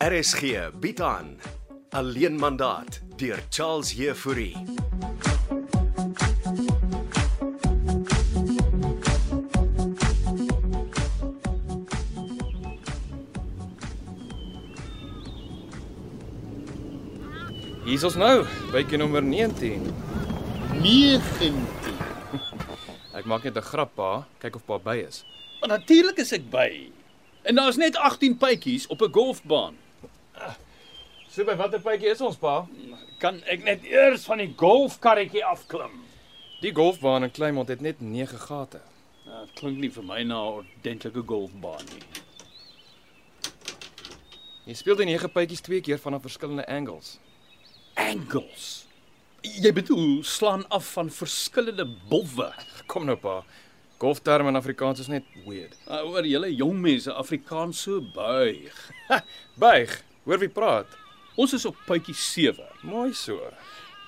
RSG bied aan Alleen mandaat deur Charles Heffouri. Hier's ons nou, bytjie nommer 19. 19. Ek maak net 'n grap, pa. Kyk of pa by is. Maar natuurlik is ek by. En daar's net 18 pypies op 'n golfbaan. So by watter bytjie is ons, pa? Kan ek net eers van die golfkarretjie afklim? Die golfbaan in Kleinmond het net 9 gate. Nou, Dit klink nie vir my na 'n ordentlike golfbaan nie. Jy speel die 9 bytjies twee keer vanaf verskillende angles. Angles. Jy bedoel slaan af van verskillende bowwe. Kom nou, pa. Golfterme in Afrikaans is net weird. Uh, Oor julle jong mense Afrikaans so buig. Buig. Hoor wie praat? Ons is op pypie 7. Mooi so.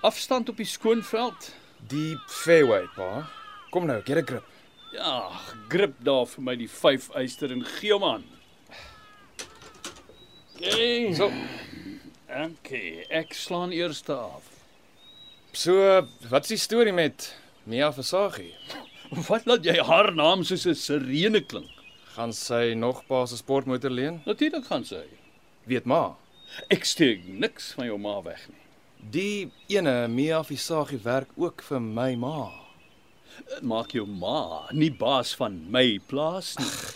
Afstand op die skoonveld. Deep fairway, pa. Kom nou, get 'n grip. Ja, grip daar vir my die 5 eyster en gee hom aan. Okay. So, Okay, ek slaan eers af. so wat's die storie met Mia Versaghi? Wat laat jy haar naam soos 'n sirene klink? Gaan sy nog pa se sportmotor leen? Natuurlik gaan sy. Weet maar. Ek steek niks van jou ma weg nie. Die ene Mia Visagie werk ook vir my ma. Dit Eh, maak jou ma nie baas van my plaas nie.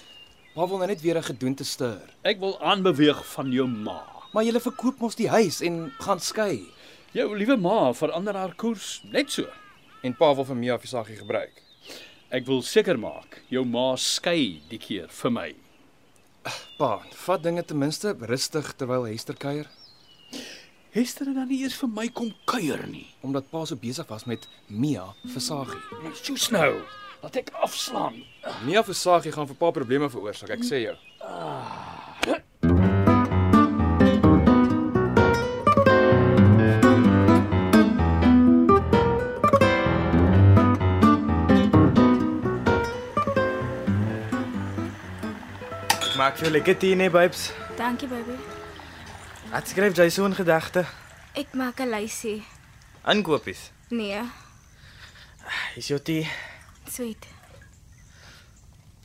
Pa wil nou net weer 'n gedoente stuur. Ek wil aanbeweeg van jou ma. Maar jy verkoop mos die huis en gaan skei. Jou liewe ma verander haar koers net so. En pa wil vir Mia Visagie gebruik. Ek wil seker maak jou ma skei die keer vir my. Pa, vat dinge ten minste rustig terwyl Hester kuier, Hester het dan nie eers vir my kom kuier nie. omdat pa so besig was met Mia Visagie. Soos nou, laat ek afslaan. Mia Visagie gaan vir pa probleme veroorsaak, ek sê jou. Maak vir jou lekker tee, nee, babes. Dankie baby. Wat skryf jy so in gedagte? Ek maak 'n lysie. Aankoopies. Nee, Is jou tee? sweet.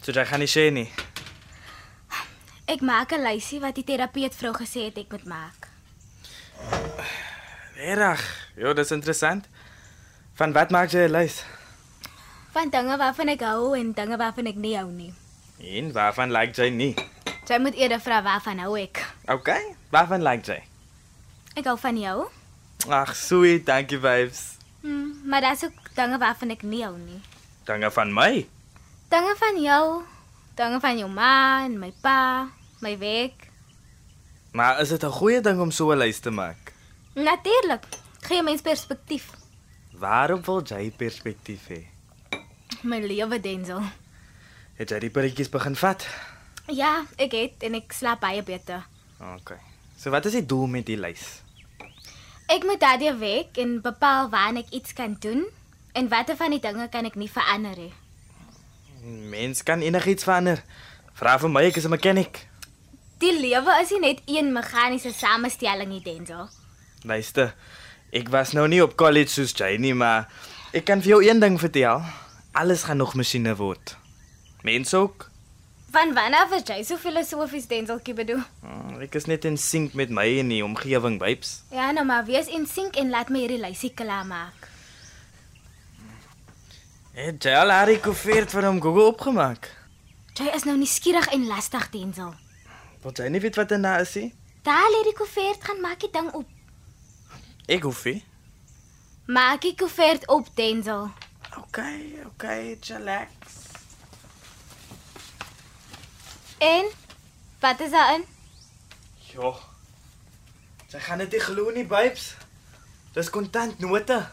So jy gaan nie sê nie. Ek maak 'n lysie wat die terapeut vrou gesê het ek moet maak. Reg. Ja, dis interessant. Van wat maak jy 'n lys? Van dinge waarvan ek hou en dinge waarvan ek nie hou nie. En waarvan like jy nie? Jy moet eerder vra waarvan hou ek. OK, waarvan like jy? Ek hou van jou, Ag, sweet, dankie, babes. hm, maar daar's ook dinge waarvan ek nie hou nie. Dankie van my. Dinge van jou, dinge van jou ma en my pa, my werk. Maar is dit 'n goeie ding om so 'n lys te maak? Natuurlik, gee mens perspektief. Waarom wil jy perspektief hê? My lewe Denzel. Het jy die pilletjies begin vat? Ja, ek het en ek slaap baie beter. OK. So wat is die doel met die lys? Ek moet daardie week en bepaal wanneer ek iets kan doen en watter van die dinge kan ek nie verander nie. Mens kan enigiets verander. Vra vir my, ek is 'n mechanic. Die lewe is nie net een meganiese samestelling nie, Denzel. Luister, ek was nou nie op college soos jy nie, maar ek kan vir jou een ding vertel. Alles gaan nog masjiene word. Mense ook. Van wanneer was jy so filosofies, Denzelkie bedoel? Hmm, Ek is net in sink met my en die omgewing vibes. Ja, nou maar wees in sink en laat my hierdie lysie klaar maak. Het jy al haar koevert van hom Google opgemaak? Jy is nou nuuskierig en lastig, Denzel. Want jy nie weet wat daarna is nie. Daar lê die koevert, gaan maak die ding op. Ek hoef nie. Maak die koevert op, Denzel. OK, OK, relax. En wat is daarin? Ja. Jy gaan dit nie glo nie, babes. Dis kontantnote.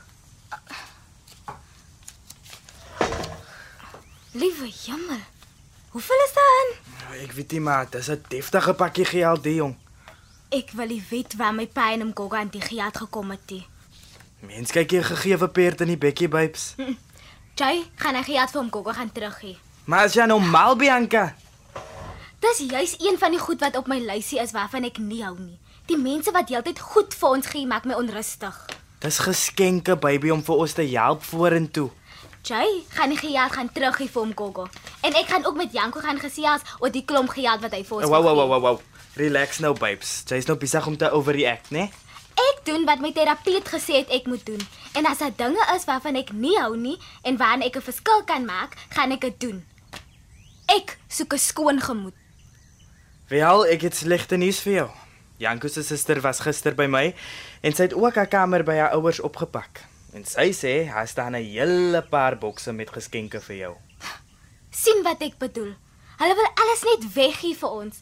Liewe jemmel. Hoeveel is daarin? Nou, Ek weet nie maar, dis 'n deftige pakkie geld, die jong. Ek wil nie weet waar my pa en hom Goga aan die geld gekom het nie. Mens kyk hier gegeewe perd in die bekkie, babes. Jy gaan hy geld vir hom Goga gaan teruggee. Maar as jy nou mal Bianca, Dit Dis juis een van die goed wat op my lysie is waarvan ek nie hou nie. Die mense wat heeltyd goed vir ons gee, maak my onrustig. Dis geskenke baby om vir ons te help vorentoe. Jay gaan die gejag gaan teruggee vir hom Gogo. En ek gaan ook met Janko gaan gesels oor die klomp gejag wat hy vir ons Wow wow gegee wow wow wow. Relax nou babes. Jy's nou besig om te overreact, né? Nee? Ek doen wat my terapeut gesê het ek moet doen. En as daar dinge is waarvan ek nie hou nie en waarin ek 'n verskil kan maak, gaan ek dit doen. Ek soek 'n skoon gemoed. Wel, ek het slegte nuus vir jou. Janko se suster was gister by my en sy het ook haar kamer by haar ouers opgepak. En sy sê daar staan 'n hele paar bokse met geskenke vir jou. sien wat ek bedoel. Hulle wil alles net weggee vir ons.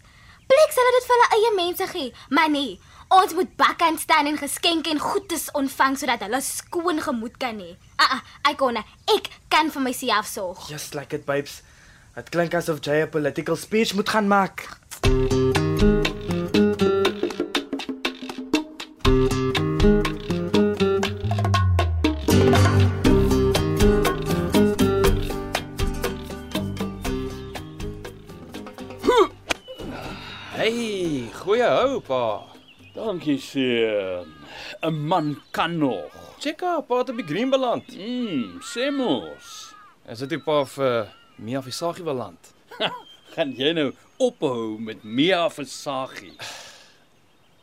Pleks hulle dit vir hulle eie mense gee, maar nee, ons moet bakkant staan en geskenke en goedes ontvang sodat hulle skoon gemoed kan hê. Ah, ah, Ikona, ek kan vir myself sorg. Just like it, babes. Dit klink asof jy 'n political speech moet gaan maak. Hey, goeie hou pa. Dankie seun. 'n Man kan nog. Check up, pa het op die green beland. Mm, sê mos. Is dit die pa vir Mia Visagie beland? Gaan jy nou ophou met Mia Versagie?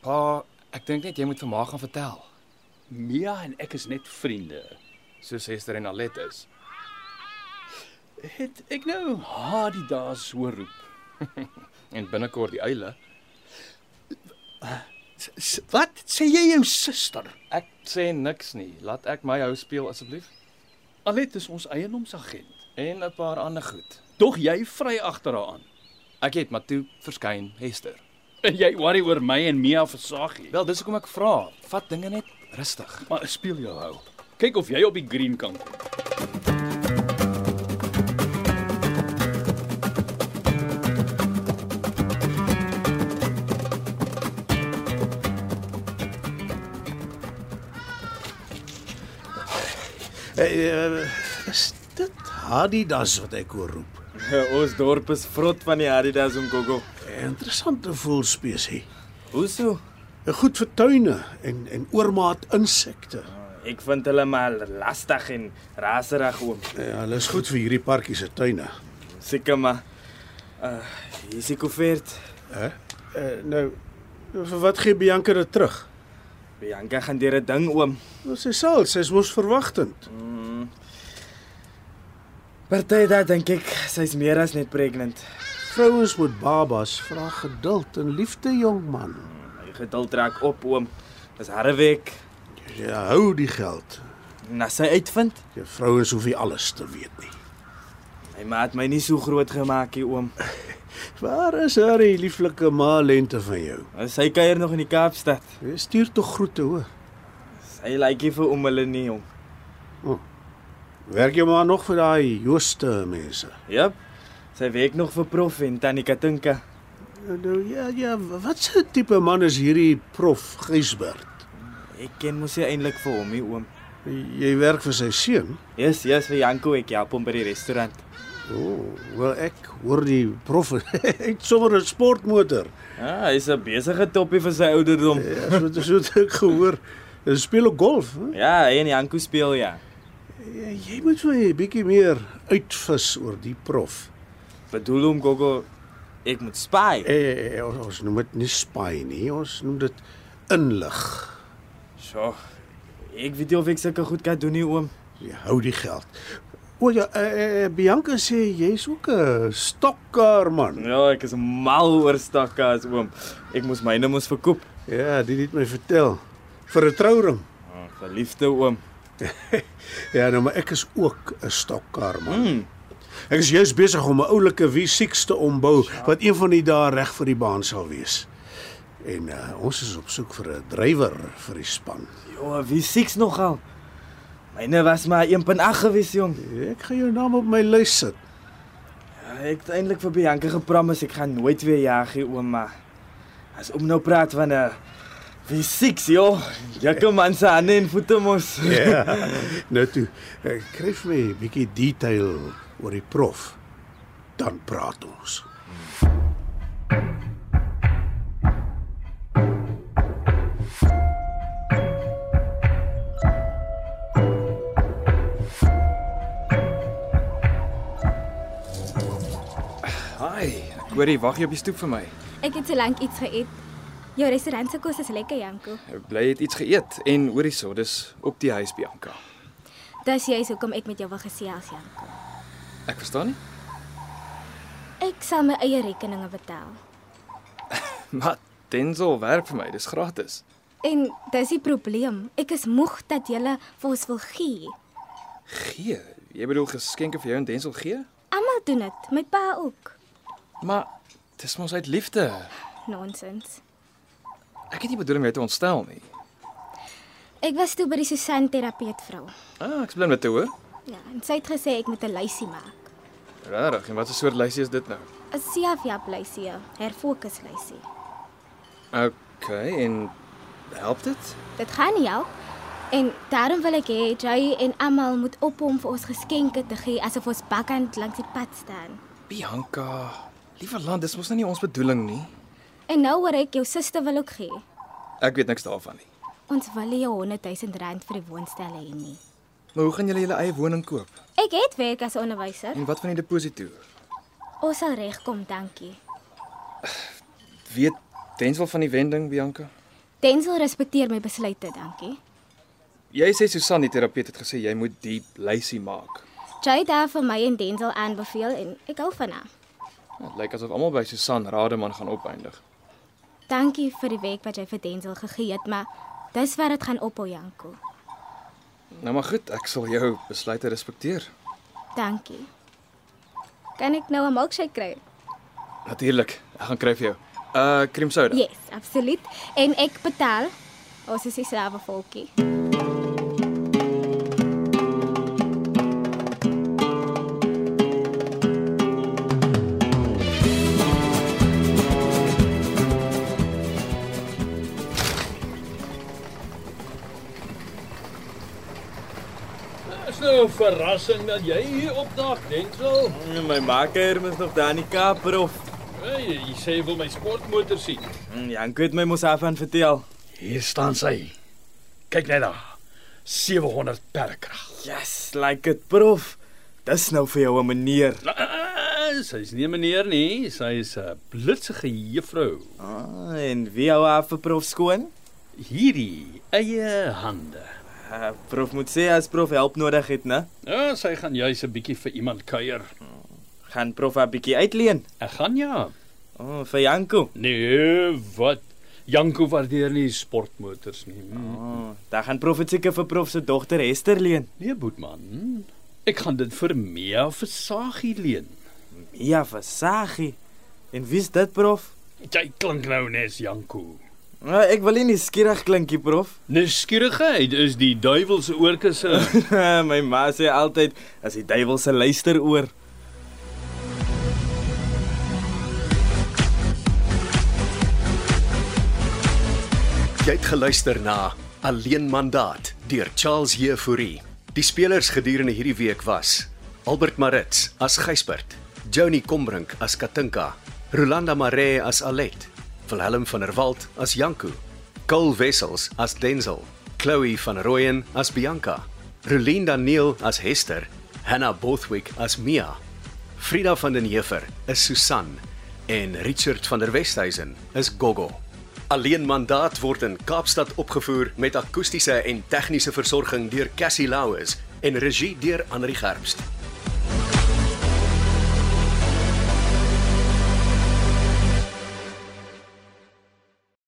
Pa, ek dink net jy moet vir ma gaan vertel, Mia en ek is net vriende. soos Hester en Alet is. Het ek nou haar die dae so roep? En binnekort die eile. S wat sê jy jou suster? Ek sê niks nie. Laat ek my hou speel asseblief Alet is ons eienoomsagent. en 'n paar ander goed. Dog jy vry agter haar aan. Ek het maar toe verskyn Hester. En jy worry oor my en Mia Versagie. Wel, dis hoekom ek vra. Vat dinge net rustig. Maar speel jou hou. Kyk of jy op die green kan kom. Eh, Is dit Adidas wat ek hoor roep? Ons dorp is vrot van die Adidas en Gogo. Interessante voëlspesie. Hoeso? Goed vir tuine en en oormaat insekte. Ek vind hulle maar lastig en raserig oom. Ja, hulle is goed vir hierdie parkie se tuine. Seker maar. Uh, hier is die koevert. Uh, nou vir wat gee Bianca dit terug? Bianca gaan deur 'n ding oom. Nou, Sy sal, sy is mos verwagtend. Party daai dink ek sy's meer as net pregnant. Vrouens met babas vra geduld en liefde, jong man. My geduld raak op oom. Dis harde week. Jy Ja, hou die geld. En as sy uitvind, Jy vrouens hoef nie alles te weet nie. my ma het my nie so groot gemaak hier oom. Waar is haar die lieflike ma lente van jou? Sy kuier nog in die Kaapstad. Jy stuur tog groete, hoor. Sy lyk nie vir oom hulle nie oom. Werk jy maar nog vir daai Jooste mense? Jep. Sy werk nog vir prof en tannie Katinka. Nou ja, ja, wat so 'n tipe man is hierdie prof Gysbert? Ek ken mos nie eintlik vir hom nie oom. Jy werk vir sy seun? Yes, yes, vir Janko ek help hom by die restaurant. O, oh, wel ek hoor die prof het sommer 'n sportmotor. Ja, hy's 'n besige toppie vir sy ouderdom. Ja, so dit so het ek gehoor. Hy speel ook golf. Hè? Ja, hy en Janko speel ja. Jy, jy moet so 'n bietjie meer uitvis oor die prof. Bedoel hom Gogo ek moet spy. Eh, ons, ons noem dit nie spy nie, ons noem dit inlig. So. Ek weet nie of ek sulke goed kan doen nie oom. Jy hou die geld. O ja, eh, eh, Bianca sê jy's ook 'n stokkar man. Ja, ek is mal oor stakkas oom. Ek moes myne mos verkoop. Ja, dit het my vertel vir 'n trouring. Oh, verliefde oom. Ja, nou maar ek is ook 'n stokkar man. Mm. Ek is juis besig om 'n oulike V6 te ombou wat een van die dae reg vir die baan sal wees. En uh, ons is op soek vir 'n drywer vir die span. Ja, wie siks nogal. Myne was maar 1.8 gewees jong. Ek gaan jou naam op my lys sit. Ja, Ek het eintlik vir Bianca gepromis ek gaan nooit weer jag hier oom maar as oom nou praat van 'n wie siks joh. Jakke man se hande en voete mos. Ja. nou toe, ek kry vir my 'n bietjie detail oor die prof. Dan praat ons. Hi, ek hoor jy wag hier op die stoep vir my. Ek het so lank iets geëet. Jou restaurant se kos is lekker, Janko. Ek bly jy het iets geëet en hoor hierso, dis op die huis Bianca. Dis juist hoekom ek met jou wil gesels, Janko. Ek verstaan nie. Ek sal my eie rekeninge betaal. Maar Denzel werk vir my, dis gratis. En dis die probleem. Ek is moeg dat jy vir ons wil gee. Gee. Jy bedoel geskenke vir jou en Denzel gee? Almal doen dit, my pa ook. Maar dis mos uit liefde. Nonsens. Ek het nie bedoel om jou te ontstel nie. Ek was toe by die Susan terapeut vrou. Ah, ek's bly met toe. Ja, en sy het gesê ek moet 'n lysie maak. Regtig? En wat 'n soort lysie is dit nou? 'n Seafjap lysie, herfokus lysie. OK, en help dit? Dit gaan nie help. En daarom wil ek hê jy en almal moet ophou om vir ons geskenke te gee asof ons bakkant langs die pad staan. Bianca, liewe land, dis mos nou nie ons bedoeling nie. En nou hoor ek jou suster wil ook gee. Ek weet niks daarvan nie. Ons wil nie jou 100 000 rand vir die woonstel hê nie. Maar hoe gaan julle julle eie woning koop? Ek het werk as onderwyser. En wat van die deposito? Ons sal regkom, dankie. Weet Denzel van die wending, Bianca? Denzel respekteer my besluite, dankie. Jy sê Susan die terapeut het gesê jy moet die lysie maak. Jy het daar vir my en Denzel aanbeveel en ek hou van haar. Dit Ja, lyk asof almal by Susan Rademan gaan opeindig. Dankie vir die werk wat jy vir Denzel gegee het, maar dis wat dit gaan ophou, Janko. Nou maar goed, ek sal jou besluite respekteer. Dankie. Kan ek nou 'n milkshake kry? Natuurlik, ek gaan kry vir jou. Uh, cream soda. Yes, absoluut. En ek betaal. Ons is dieselfde volkie. Is nou 'n verrassing dat jy hier opdaag, Denzel. My makker is nog daar in die Kaap, prof. Mm, Hey, jy sê jy wil my sportmotor sien. Janko het my mos daarvan vertel. Hier staan sy. Kyk net daar. 700 perkrag. Yes, like it, prof. Dis nou vir jou 'n manier. ah, Sy's nie meneer nie, sy is 'n blitsige juffrou. Ah, en wie hou af vir prof skoon? Hierdie eie hande. Uh, prof moet sê as prof help nodig het, né? Ja, sy gaan juis 'n bietjie vir iemand kuier. Gaan prof 'n bietjie uitleen. Ek gaan ja. O, oh, vir Janko. Nee, wat? Janko waardeer nie sportmotors nie. Hm. O, oh, dan gaan prof dit seker vir prof se dogter Hester leen. Nee, boetman. Ek gaan dit vir Mia Versagie leen. Ja, vir Sagie. En wie's dit, prof? Jy klink nou nes Janko. Uh, ek wil nie nuuskierig klinkie, prof. Nuuskierigheid is die duiwel se oorkusse. my ma sê altyd as die duiwel se luister oor. Jy het geluister na Alleen Mandaat deur Charles Jefouri. Die spelers gedurende hierdie week was Albert Maritz as Gysbert, Johnny Combrink as Katinka, Rolanda Maree as Alet, Wilhelm van der Walt as Janku, Cole Wessels as Denzel, Chloe van Rooyen as Bianca, Rolinda Neil as Hester, Hannah Bothwick as Mia, Frida van den Heever is Susan en Richard van der Westhuizen is Gogo. Alleen mandaat word in Kaapstad opgevoer met akoestiese en tegniese versorging deur Cassie Louws en regie deur Anri Gerbst.